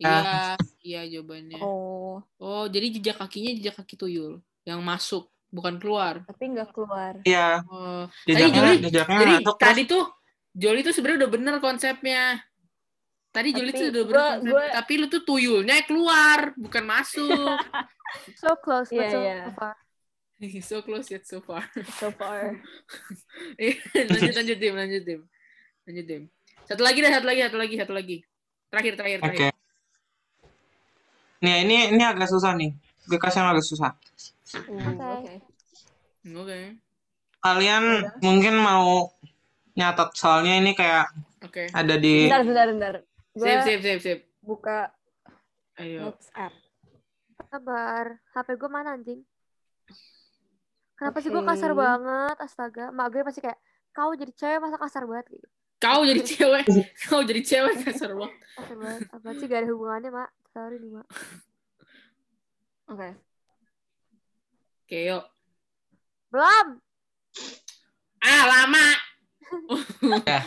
Iya, iya jawabannya.
oh,
Oh, jadi jejak kakinya jejak kaki tuyul yang masuk, bukan keluar.
tapi nggak keluar.
Iya,
Oh, tadi Juli,
jejaknya jejaknya
jadi
masuk terus
tadi tuh Joli tuh sebenarnya udah bener konsepnya. Tadi Joli
Tapi
tuh udah bener
gua-
konsepnya,
gua-
tapi lu tuh tuyulnya yang keluar, bukan masuk.
So close but
Iya,
so
iya.
far.
so close yet so far.
So far.
Eh, lanjut lanjut tim, lanjut tim. Lanjut tim. Satu lagi dah, satu lagi, satu lagi, satu lagi. Terakhir, terakhir,
Oke.
terakhir.
Nih, ini ini agak susah nih. Gue kasih yang agak susah.
Uh,
Oke.
Oke.
Oke.
Kalian mungkin mau nyatet soalnya ini kayak
Oke.
ada di
Bentar, bentar, bentar. Gue
Sip, sip, sip, sip.
buka
Ayo.
notes app.
Kabar. HP gue mana anjing? Kenapa sih gue
Oke.
kasar banget? Astaga. Mak gue pasti kayak kau jadi cewek masa kasar banget kayak gitu.
Kau jadi cewek, kau jadi cewek kasar banget.
Kasar banget. Apa sih gak ada hubungannya, Mak? Sorry nih, Mak.
Oke.
Oke, yuk.
Belum.
Ah, lama.
Eh,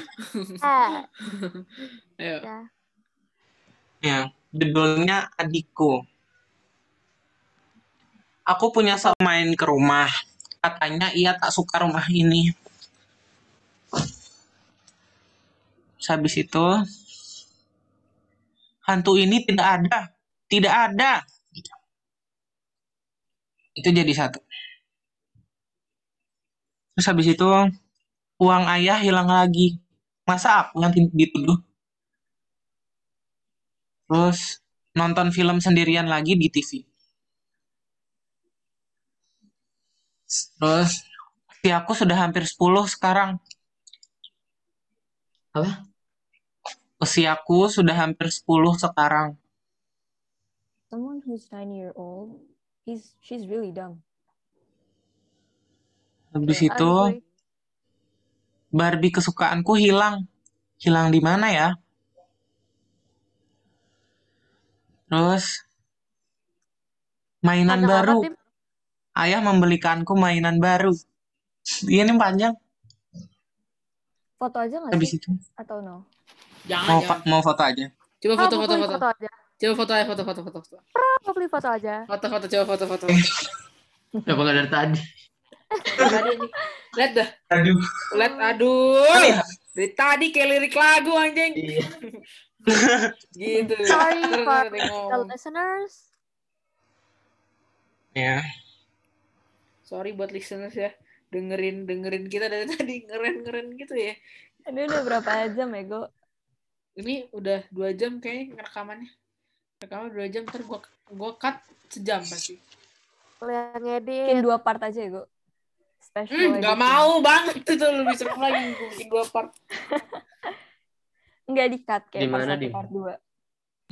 Ayo.
udah.
bukunya. Judulnya Adikku. Aku punya sama main ke rumah. Katanya ia tak suka rumah ini. Terus habis itu, hantu ini tidak ada. Tidak ada. Gitu. Itu jadi satu. Terus habis itu, uang ayah hilang lagi. Masa aku yang ti- dituduh? Terus nonton film sendirian lagi di TV. Terus usia aku sudah hampir 10 sekarang.
Apa?
Usiaku sudah hampir 10 sekarang.
Someone who's nine year old, he's she's really dumb.
Habis
I
itu
agree.
Barbie kesukaanku hilang. Hilang di mana ya? Terus mainan
Panjang
baru.
amat nih.
Ayah membelikanku mainan baru. Iya nih panjang.
Foto aja nggak
Habis
sih?
itu
Atau no?
Jangan,
mau
jangan.
fa- mau foto aja.
Coba foto, foto,
Probably
foto.
foto aja.
Coba foto aja, foto, foto, foto. Foto,
Probably foto aja.
foto, foto coba foto, foto. foto.
Kenapa nggak dari tadi?
Dari Tadi nih. Lihat dah,
Aduh.
lihat.
Oh,
Aduh.
Iya.
Dari tadi kayak lirik lagu anjing.
Iya.
Gitu.
Sorry
Ntar-
for
ntar dia
the
ngomong.
listeners.
Ya.
Sorry buat listeners ya. Dengerin, dengerin kita dari tadi. Ngeren-ngeren gitu ya.
Ini udah berapa jam ya, Ego?
Ini udah dua jam kayaknya rekamannya. Rekaman dua jam, ntar gua, gua cut sejam pasti.
Lo yang ngedit.
Bikin dua part aja Ego. Special
Hmm, gak
edition.
mau banget itu lebih serem lagi gua bikin dua part.
Nggak di-cut kayak
Di
part
mana,
satu,
Dim?
part dua.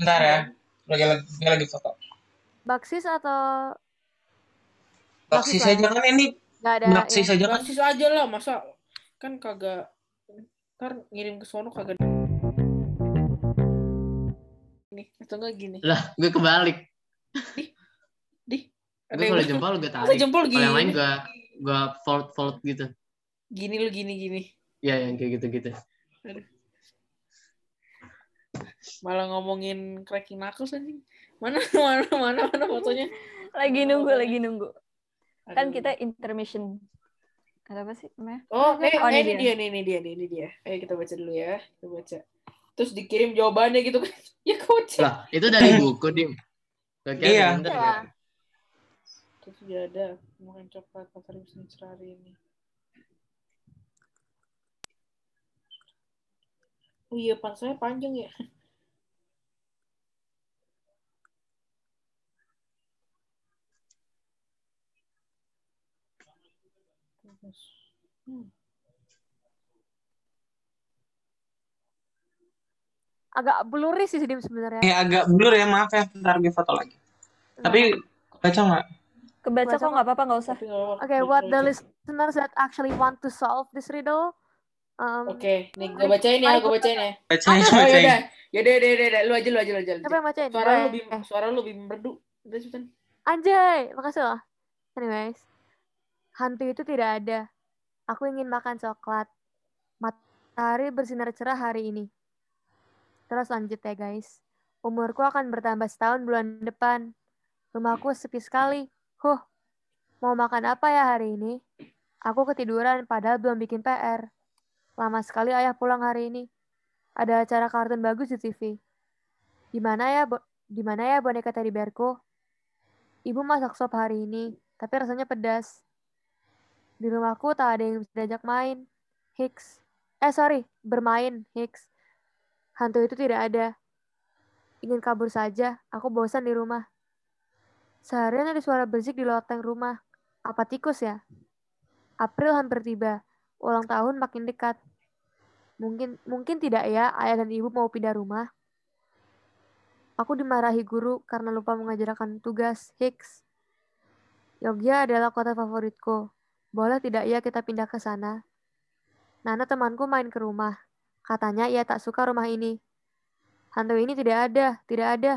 Bentar ya. Lagi lagi, lagi foto.
Baksis atau
Baksis
Baksis
aja kan ini.
nggak ada?
Baksis
ya.
aja kan.
Basis aja lah masa kan kagak ntar ngirim ke sono kagak nih atau enggak gini
Lah, gue kebalik.
di ada
Gue
yang
kalau
bener.
jempol gue
Masa
tarik.
gitu. jempol
Kalau
gini
yang lain gue gue fold fold gitu.
gini lu gini gini
Ya yang kayak gitu-gitu.
malah ngomongin cracking knuckles anjing mana mana mana mana fotonya
Lagi nunggu,
Fotonya.
lagi nunggu. Kan
Aduh.
kita intermission. Ada apa sih namanya?
oh eh,
Oh,
eh,
ini
ini dia nih ini dia nih ini dia ayo kita baca dulu ya kita baca terus dikirim jawabannya gitu kan ya kocak
Lah, itu dari buku, Dim. Gak kira ya.
Iya.
dari internet.
Iya.
terus dia ada makan coklat pasar musim hari ini oh iya pansanya panjang ya Hmm.
Agak bluris sih Dim sebenarnya.
Ya agak blur ya maaf ya. Bentar gue foto lagi. Tapi baca nggak?
Kebaca kok nggak apa-apa, nggak usah.
Tapi nggak apa-apa.
Okay,
Baca,
what the
baca.
listeners that actually want to solve this riddle? Um,
Oke, nih gue bacain ya,
Mari
gue
gua
bacain ya.
Bacain
Oh
bacain.
yaudah, yaudah, yaudah, yaudah, yaudah. lu aja, lu aja, lu aja. lu aja.
Siapa yang bacain?
Suara lu
Gue.
lebih, suara lu lebih merdu. Udah Sultan.
Anjay, makasih loh. Anyways, hantu itu tidak ada. Aku ingin makan coklat. Matahari bersinar cerah hari ini. Terus lanjut ya guys. Umurku akan bertambah setahun bulan depan. Rumahku sepi sekali. Huh, mau makan apa ya hari ini? Aku ketiduran padahal belum bikin PR. Lama sekali ayah pulang hari ini. Ada acara kartun bagus di TV. Di mana ya, bo- di mana ya boneka teddy bearku? Ibu masak sop hari ini, tapi rasanya pedas. Di rumahku tak ada yang bisa diajak main. Hicks. Eh, sorry. Bermain. Hicks. Hantu itu tidak ada. Ingin kabur saja. Aku bosan di rumah. Seharian ada suara berisik di loteng rumah. Apa tikus ya? April hampir tiba. Ulang tahun makin dekat. Mungkin mungkin tidak ya ayah dan ibu mau pindah rumah. Aku dimarahi guru karena lupa mengajarkan tugas. Hicks. Yogyakarta adalah kota favoritku. Boleh tidak ya kita pindah ke sana? Nana temanku main ke rumah. Katanya ia tak suka rumah ini. Hantu ini tidak ada, tidak ada.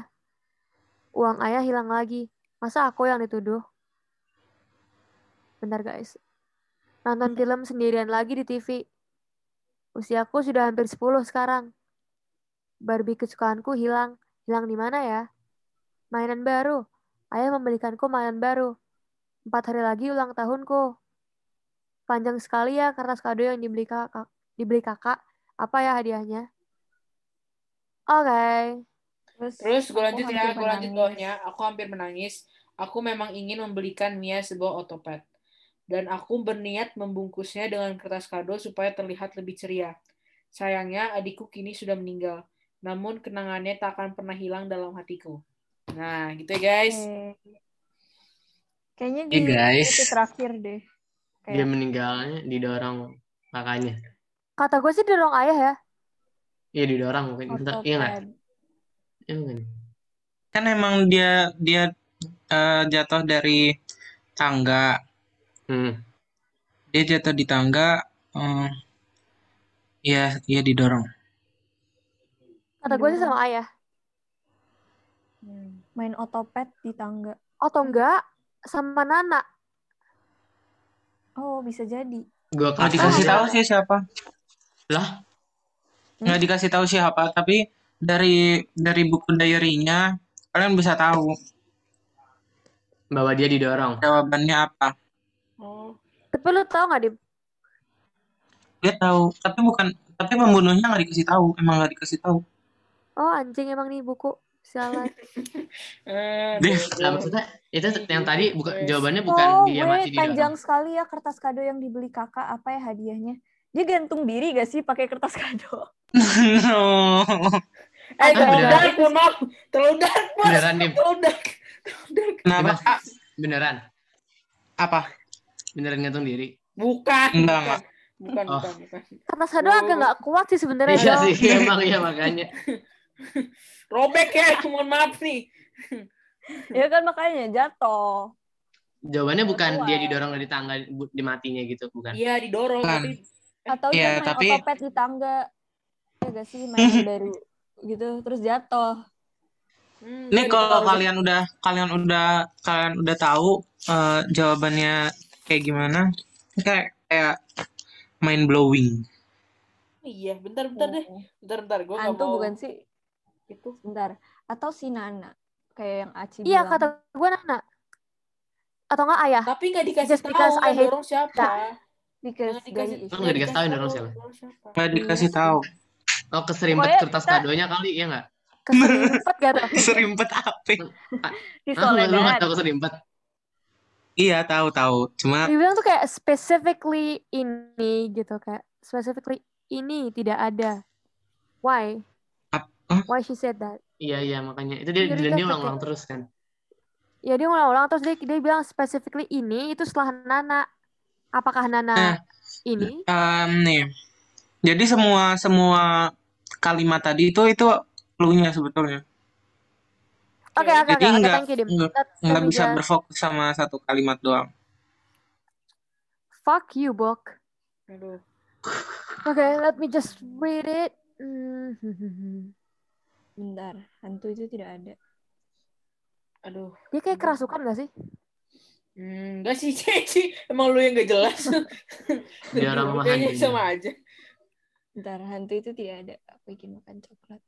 Uang ayah hilang lagi. Masa aku yang dituduh? Bentar guys. Nonton film sendirian lagi di TV. Usiaku sudah hampir 10 sekarang. Barbie kesukaanku hilang. Hilang di mana ya? Mainan baru. Ayah membelikanku mainan baru. Empat hari lagi ulang tahunku. Panjang sekali ya kertas kado yang dibeli kakak. Dibeli kakak. Apa ya hadiahnya? Oke.
Terus gue
aku
lanjut ya,
hampir
gue lanjut
menangis.
bawahnya. Aku hampir menangis. Aku memang ingin membelikan Mia sebuah otopet. Dan aku berniat membungkusnya dengan kertas kado supaya terlihat lebih ceria. Sayangnya adikku kini sudah meninggal. Namun kenangannya tak akan pernah hilang dalam hatiku. Nah, gitu ya guys.
Oke. Eh, Kayaknya di
Hey, guys.
itu terakhir deh.
Dia
Kayak
meninggalnya didorong kakaknya.
Kata gue sih dorong ayah ya.
Iya didorong mungkin. Bentar, iya nggak?
otopet.
Iya mungkin.
Kan emang dia dia eh, jatuh dari tangga.
Hmm.
Dia jatuh di tangga. eh, ya, dia didorong.
Kata gue sih sama ayah.
Main otopet di tangga.
Atau
Hmm.
enggak sama Nana.
Oh, bisa jadi.
Nggak
Gua kasih
dikasih
iya.
tahu sih siapa. Hmm?
Lah,
Nggak dikasih tahu siapa, tapi dari dari buku diary-nya kalian bisa tahu
bahwa dia didorong.
jawabannya apa.
Oh,
Tapi lu tau nggak, Dim?
Dia tahu, tapi bukan tapi pembunuhnya nggak dikasih tahu, emang nggak dikasih tahu.
Oh anjing emang nih buku. Sialan.
eh,
Dia-
bodoh.
Lah Nah, maksudnya itu yang tadi bukan
Yes.
jawabannya bukan
Oh,
kan, dia mati
wait,
didorong.
panjang sekali ya kertas kado yang dibeli kakak. Apa ya hadiahnya? Dia gantung diri gak sih pakai kertas kado?
no.
Eh, terlalu
beneran.
dark, mohon maaf. Terlalu dark, Mas.
Beneran, Dim.
Terlalu dark. Terlalu dark.
Kenapa?
Gimana?
Ah,
Beneran.
apa?
Beneran ngantung diri.
Bukan,
Enggak,
bukan. Bukan,
Oh.
bukan, bukan.
Kertas kado
Oh.
agak nggak kuat sih sebenarnya,
Iya
Jo.
sih, emang iya makanya.
Robek ya, mohon maaf nih.
ya kan makanya jatuh.
Jawabannya bukan
Keluar.
dia didorong dari tangga bu- di matinya gitu, bukan.
Iya, didorong
Bukan.
tapi
Atau
Iya,
dia main
tapi-
otopet di tangga. Ya gak sih main baru gitu terus jatuh.
Hmm,
Ini
iya,
kalau
didorong.
kalian udah kalian udah kalian udah tahu eh, jawabannya kayak gimana, ini kayak kayak mind blowing.
Iya, bentar bentar deh. Bentar bentar gua nggak
Antu
mau.
bukan sih?
Itu
Bentar. Atau si Nana kayak yang Aci
Iya
bilang.
kata gue Nana. Atau nggak ayah.
tapi nggak dikasih
Just because
tahu
I
yang
hate-
dorong siapa.
Because
Nggak dikasih,
dari
Lu nggak dikasih tahu yang dorong siapa?
dorong siapa.
Nggak dikasih
Iya sih.
tahu.
Oh, keserimpet
Pokoknya
kertas
kita-
kadonya kali, iya nggak?
keserimpet gak tuh?
Serimpet apa?
di
Ah, lu lu nggak
Soledad.
tahu keserimpet?
Iya, tahu tahu. Cuma
Dibilang tuh kayak specifically ini gitu kayak specifically ini tidak ada. Why?
Ap- Hah?
Why she said that?
Iya, iya makanya. Itu dia
Jadi
dan dia
kayak-
ulang-ulang terus kan.
Ya dia ulang-ulang terus dia, dia bilang specifically ini itu setelah Nana. Apakah
Nah.
Nana ini?
em, nih. Jadi semua semua kalimat tadi itu itu clue-nya sebetulnya.
Oke oke
Jadi
oke oke
nggak
thank you Dim.
nggak
Let, let
nggak
me
bisa
just-
berfokus sama satu kalimat doang.
Fuck you, Bok.
Aduh.
Okay, let me just read it. Mhm.
Bentar. Hantu itu tidak ada.
Aduh.
Dia kayak kerasukan gak sih?
Hmm, enggak sih, Cici. Emang lu yang gak jelas.
Didorong sama
Kayaknya
hantunya.
sama aja.
Bentar. Hantu itu tidak ada. Aku ingin makan coklat.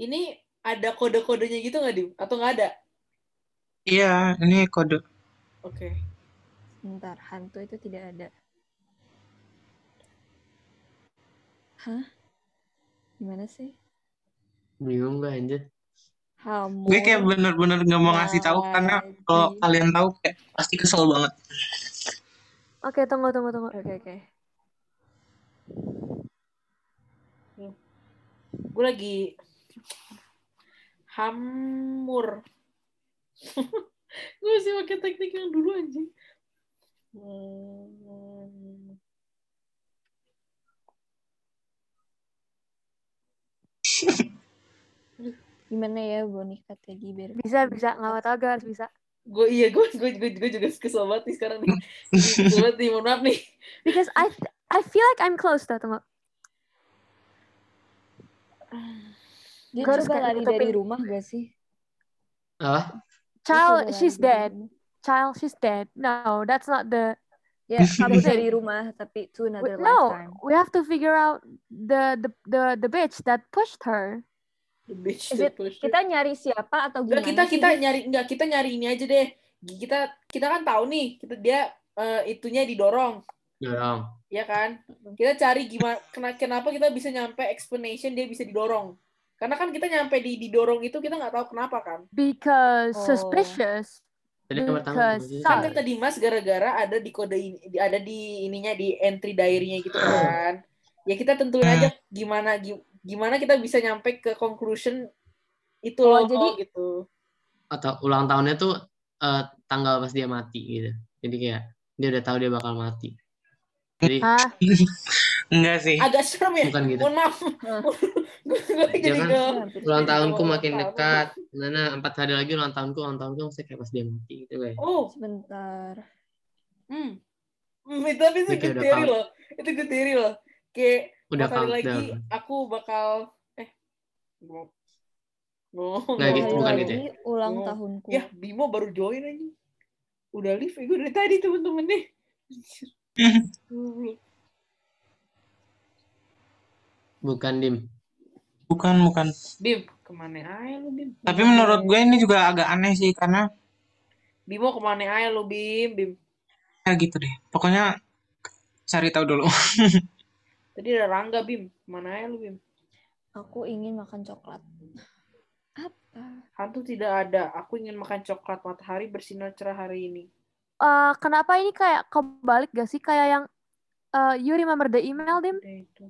Ini ada kode-kodenya gitu nggak, Dim? Atau nggak ada?
Iya, ini kode.
Oke.
Bentar. Hantu itu tidak ada. Hah? Gimana sih?
Bingung gue anjir.
Hamur.
Iya.
Ya,
Gue kayak bener-bener nggak mau ngasih tahu karena kalau
lagi.
kalian tahu kayak pasti kesel banget.
Oke, tunggu, tunggu, tunggu.
Oke, oke.
Gue lagi hamur. Gue sih pakai teknik yang dulu anjing. Hmm.
Gimana ya boneka tadi biar
Bisa, bisa. Gak apa-apa, gue harus bisa.
gue iya gue gue gue, gue juga kesel banget nih sekarang nih Ih, kesel banget nih mohon maaf nih
Because I I feel like I'm close tuh, tunggu.
Dia
Gue harus
coba
kayak
lari dari
nutupin.
rumah gak sih?
Apa?
Dia coba
Oh,
Child,
lari
she's
dari
dead.
rumah.
Child, she's dead. No, that's not the
Ya, kabur dari rumah tapi to another
no.
lifetime.
We have to figure out the the the the bitch that pushed her.
The bitch
Is
that
it-
pushed her.
Kita nyari siapa atau
Enggak
gimana?
kita
sih?
kita nyari enggak kita nyari ini aja deh. Kita kita kan tahu nih kita dia eh, itunya didorong,
dorong
ya kan? Kita cari gimana kena- kenapa kita bisa nyampe explanation dia bisa didorong. Karena kan kita nyampe di didorong itu kita nggak tahu kenapa kan.
Because
Oh.
suspicious.
tadi yang pertama
Because
Kan
maksudnya
Sorry.
kata Dimas gara-gara ada di kode ini ada di ininya di entry diary-nya gitu kan. Ya kita tentuin
Nah.
aja gimana gi- gimana kita bisa nyampe ke conclusion itu loh
Oh, jadi-
gitu.
atau ulang tahunnya tuh eh, tanggal pas dia mati gitu jadi kayak dia udah tahu dia bakal mati jadi
Hah?
Enggak sih.
Agak serem ya.
bukan gitu
Mohon maaf.
Hah.
Gue jadi
Jangan.
ke
Hampir
ulang
Jadi
tahunku
kalau
makin
ulang tahun,
dekat Nana empat hari lagi ulang tahunku ulang tahunku maksudnya kayak pas dia mati gitu kayak
Oh,
sebentar.
hmm. Hmm, itu tapi itu
Oke,
good
udah
theory
count.
loh. Itu good theory loh. Kayak
udah
empat hari lagi
countdown
aku bakal eh ngomong. Ngomong.
Nggak
Dua
gitu,
hari
bukan
lagi
gitu ya?
ulang
Oh.
tahunku.
Ya, Bimo baru join aja. Udah live ya, gue dari tadi temen-temen nih. Anjir. Goblok.
bukan dim
Bukan, bukan.
Bim, kemana aja lu Bim?
Tapi menurut gue ini juga agak aneh sih karena
Bimo kemana aja lu Bim? Bim.
ya gitu deh. Pokoknya cari tahu dulu.
Tadi ada Rangga Bim. Kemana aja lu Bim?
Aku ingin makan coklat. Apa?
Hantu tidak ada. Aku ingin makan coklat matahari bersinar cerah hari ini.
Eh, kenapa ini kayak kebalik gak sih kayak yang eh, you remember the email dim?
Ya, itu.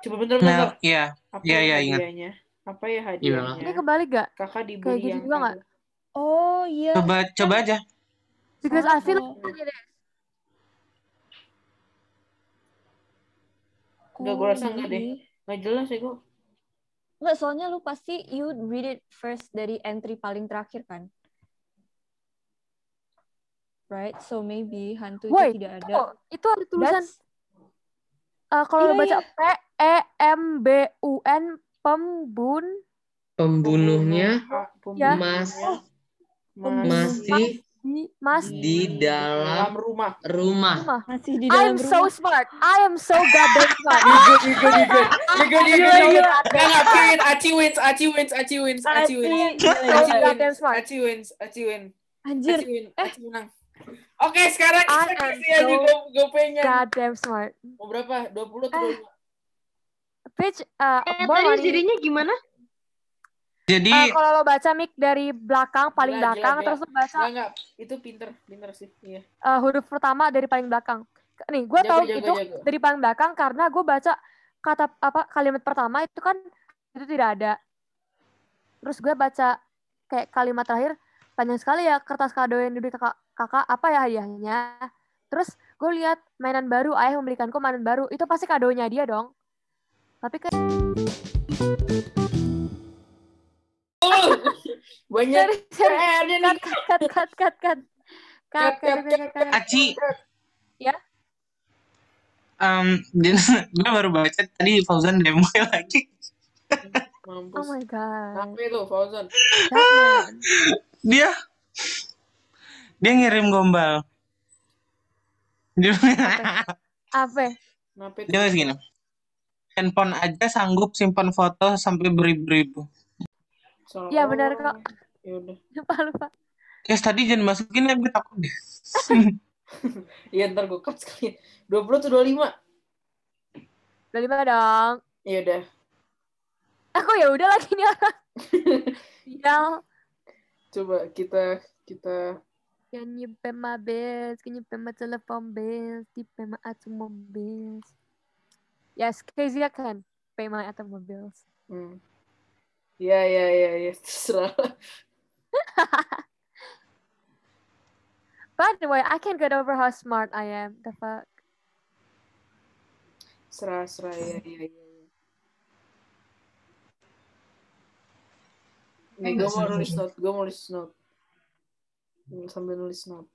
Coba bentar bentar.
Nah, iya,
Apa
Iya,
ya
iya, ingat. Iya.
hadiahnya? Apa ya
Ini
Iya.
hadiahnya?
kebalik gak?
Kakak
Kayak
diberi
gitu
yang
juga nggak?
kado.
Oh iya.
coba coba aja.
Because I feel
Oh.
like it is.
Enggak, gue
Oh,
rasa enggak
iya
deh. Nggak jelas ya gue.
Nggak, soalnya lu pasti you read it first dari entry paling terakhir kan? Right? So maybe hantu
Wait,
itu tidak ada.
tuh, itu ada tulisan
That's-
eh, kalau
Iya,
baca
iya.
P E M B U N pembun
pembunuhnya
Ah,
Ya.
Mas.
iya.
Pembunuh.
masih
mas
di dalam
rumah.
rumah
rumah.
masih di dalam
I'm so
rumah.
smart. I am so goddamn smart.
Digo, digo, digo. Digo, digo,
Gila,
digo.
gila.
Nggak, nggak, period. Aci wins, Aci wins, Aci wins, Aci wins.
So
Aci
goddamn
wins,
smart. eh.
Aci wins, Aci wins.
Anjir,
Aci win, Aci menang. Oke, sekarang kita
I am
kasih aja
so
go- gopenya.
Goddamn smart.
Mau berapa? 20 atau
Eh.
25?
Bitch, uh,
Eh,
more
tadi
money.
jadinya gimana?
Jadi
Eh, kalau lo baca mic dari belakang paling
Gila, gila,
belakang
gila.
terus lo baca
Enggak, enggak. Itu pinter, pinter sih. Iya.
eh, huruf pertama dari paling belakang. Nih, gue
Jago,
tahu
jago,
itu
jago.
dari paling belakang karena gue baca kata apa kalimat pertama itu kan itu tidak ada. Terus gue baca kayak kalimat terakhir panjang sekali ya kertas kado yang diberi kakak, kakak apa ya hadiahnya. Terus gue lihat mainan baru ayah membelikanku mainan baru itu pasti kadonya dia dong. Tapi kan kayak
Banyak
dari
PR-nya nih.
cut cut cut cut cut cut
Cut, cut,
cut cut
cut,
cut
cut.
cut.
Aci
Ya?
em gue baru baca tadi Fauzan demo lagi.
Oh
Mampus.
my god,
Sampai lu, Fauzan.
that man.
Dia dia ngirim gombal. Dia
Apa? ya?
Sampai
dia nulis gini. Handphone aja sanggup simpan foto sampai beribu-ribu.
Salah
Ya, benar,
orang. Ya udah.
Lupa lupa.
Guys, tadi jangan masukin ya, gue takut deh.
Iya, ntar gue cut sekalian. 20 atau 25?
Udah lima dong.
Ya udah.
Aku ya udah lagi nih orang. Sial.
Coba kita kita
Can you pay my bills? Can you pay my telephone bills? Can you pay my automobiles? Yes, Kezia can pay my automobiles.
Hmm. Ya, ya, ya, ya. Terserah.
By the way, I can't get over how smart I am. The fuck?
Serah, serah. Ya, ya, ya. Nih, gue mau nulis note. Gue mau nulis note. Sambil nulis note.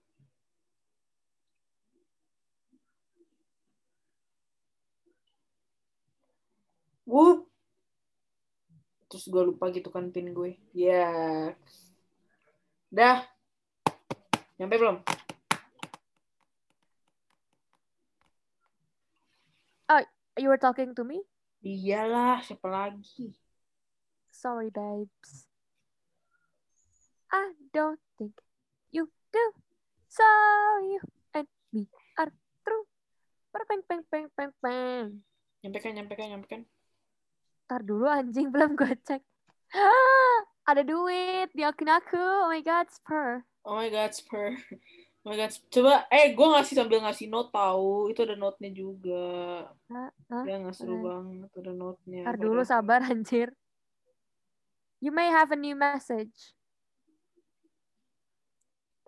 Wup. Terus gue lupa gitu kan pin gue. Ya. Dah. Nyampe belum?
You were talking to me?
Iyalah, siapa lagi?
Sorry, babes. I don't think you do. So you and me are through. Perpeng, peng, peng, peng, peng.
Nyampaikan, nyampaikan, nyampaikan.
Ntar dulu anjing, belum gue cek. Ada duit di akun aku. Oh my God, spur.
Oh my god, spur. Oh my god, coba. Eh, gue ngasih sambil ngasih note tahu. Itu ada note-nya juga.
Hah? Hah?
Ya, nggak seru
Eh.
banget. Ada note-nya.
Ntar dulu
Padahal-
sabar anjir. You may have a new message.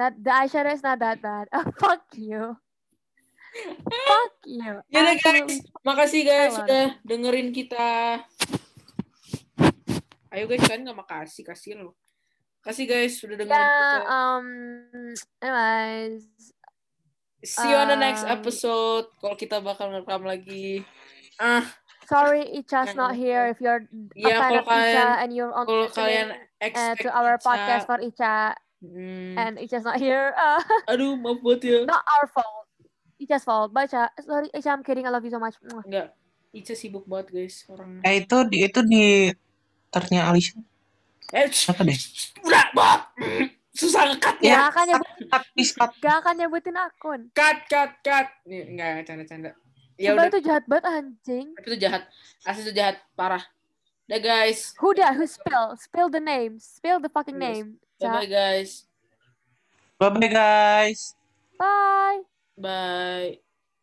That the eyeshadow is not that bad. Oh, fuck you. fuck you.
Ya udah,
Absolutely.
Makasih guys
Hello.
sudah dengerin kita. Ayo guys, kan nggak makasih. Kasih lo. Kasih guys sudah dengerin
Yeah,
kita.
um, anyways.
See you on the next
um,
episode. Kalau kita bakal ngerekam lagi. Ah,
Sorry Icha's not here. If you're
Kan ya
a fan
kalau
of Icha
kalian
and you're on
kalau kalian
listening uh,
expect
to our
Ica-
podcast for Icha
Hmm.
and Icha's not here, uh,
aduh maaf buat ya.
not our fault. Icha's fault. But Icha, sorry Icha, I'm kidding. I love you so much. Mwah.
Enggak. Ica sibuk banget guys orang.
Eh itu di itu di ternya Alicia.
Eh, shh,
Apa deh?
shh, udah, maaf. Susah ngekat ya.
Ya.
Gak akan nyebut,
Cut, please cut.
gak akan nyebutin akun.
Cut, cut, cut. Nih, Enggak, canda-canda. Ya
Sumpah
udah,
itu jahat banget anjing.
tapi itu jahat. Asli itu jahat parah. Udah guys.
Who dah? Who spill? Spill the name. Spill the fucking
Yes.
name. Ja.
Bye-bye guys.
Bye bye guys.
Bye.
Bye.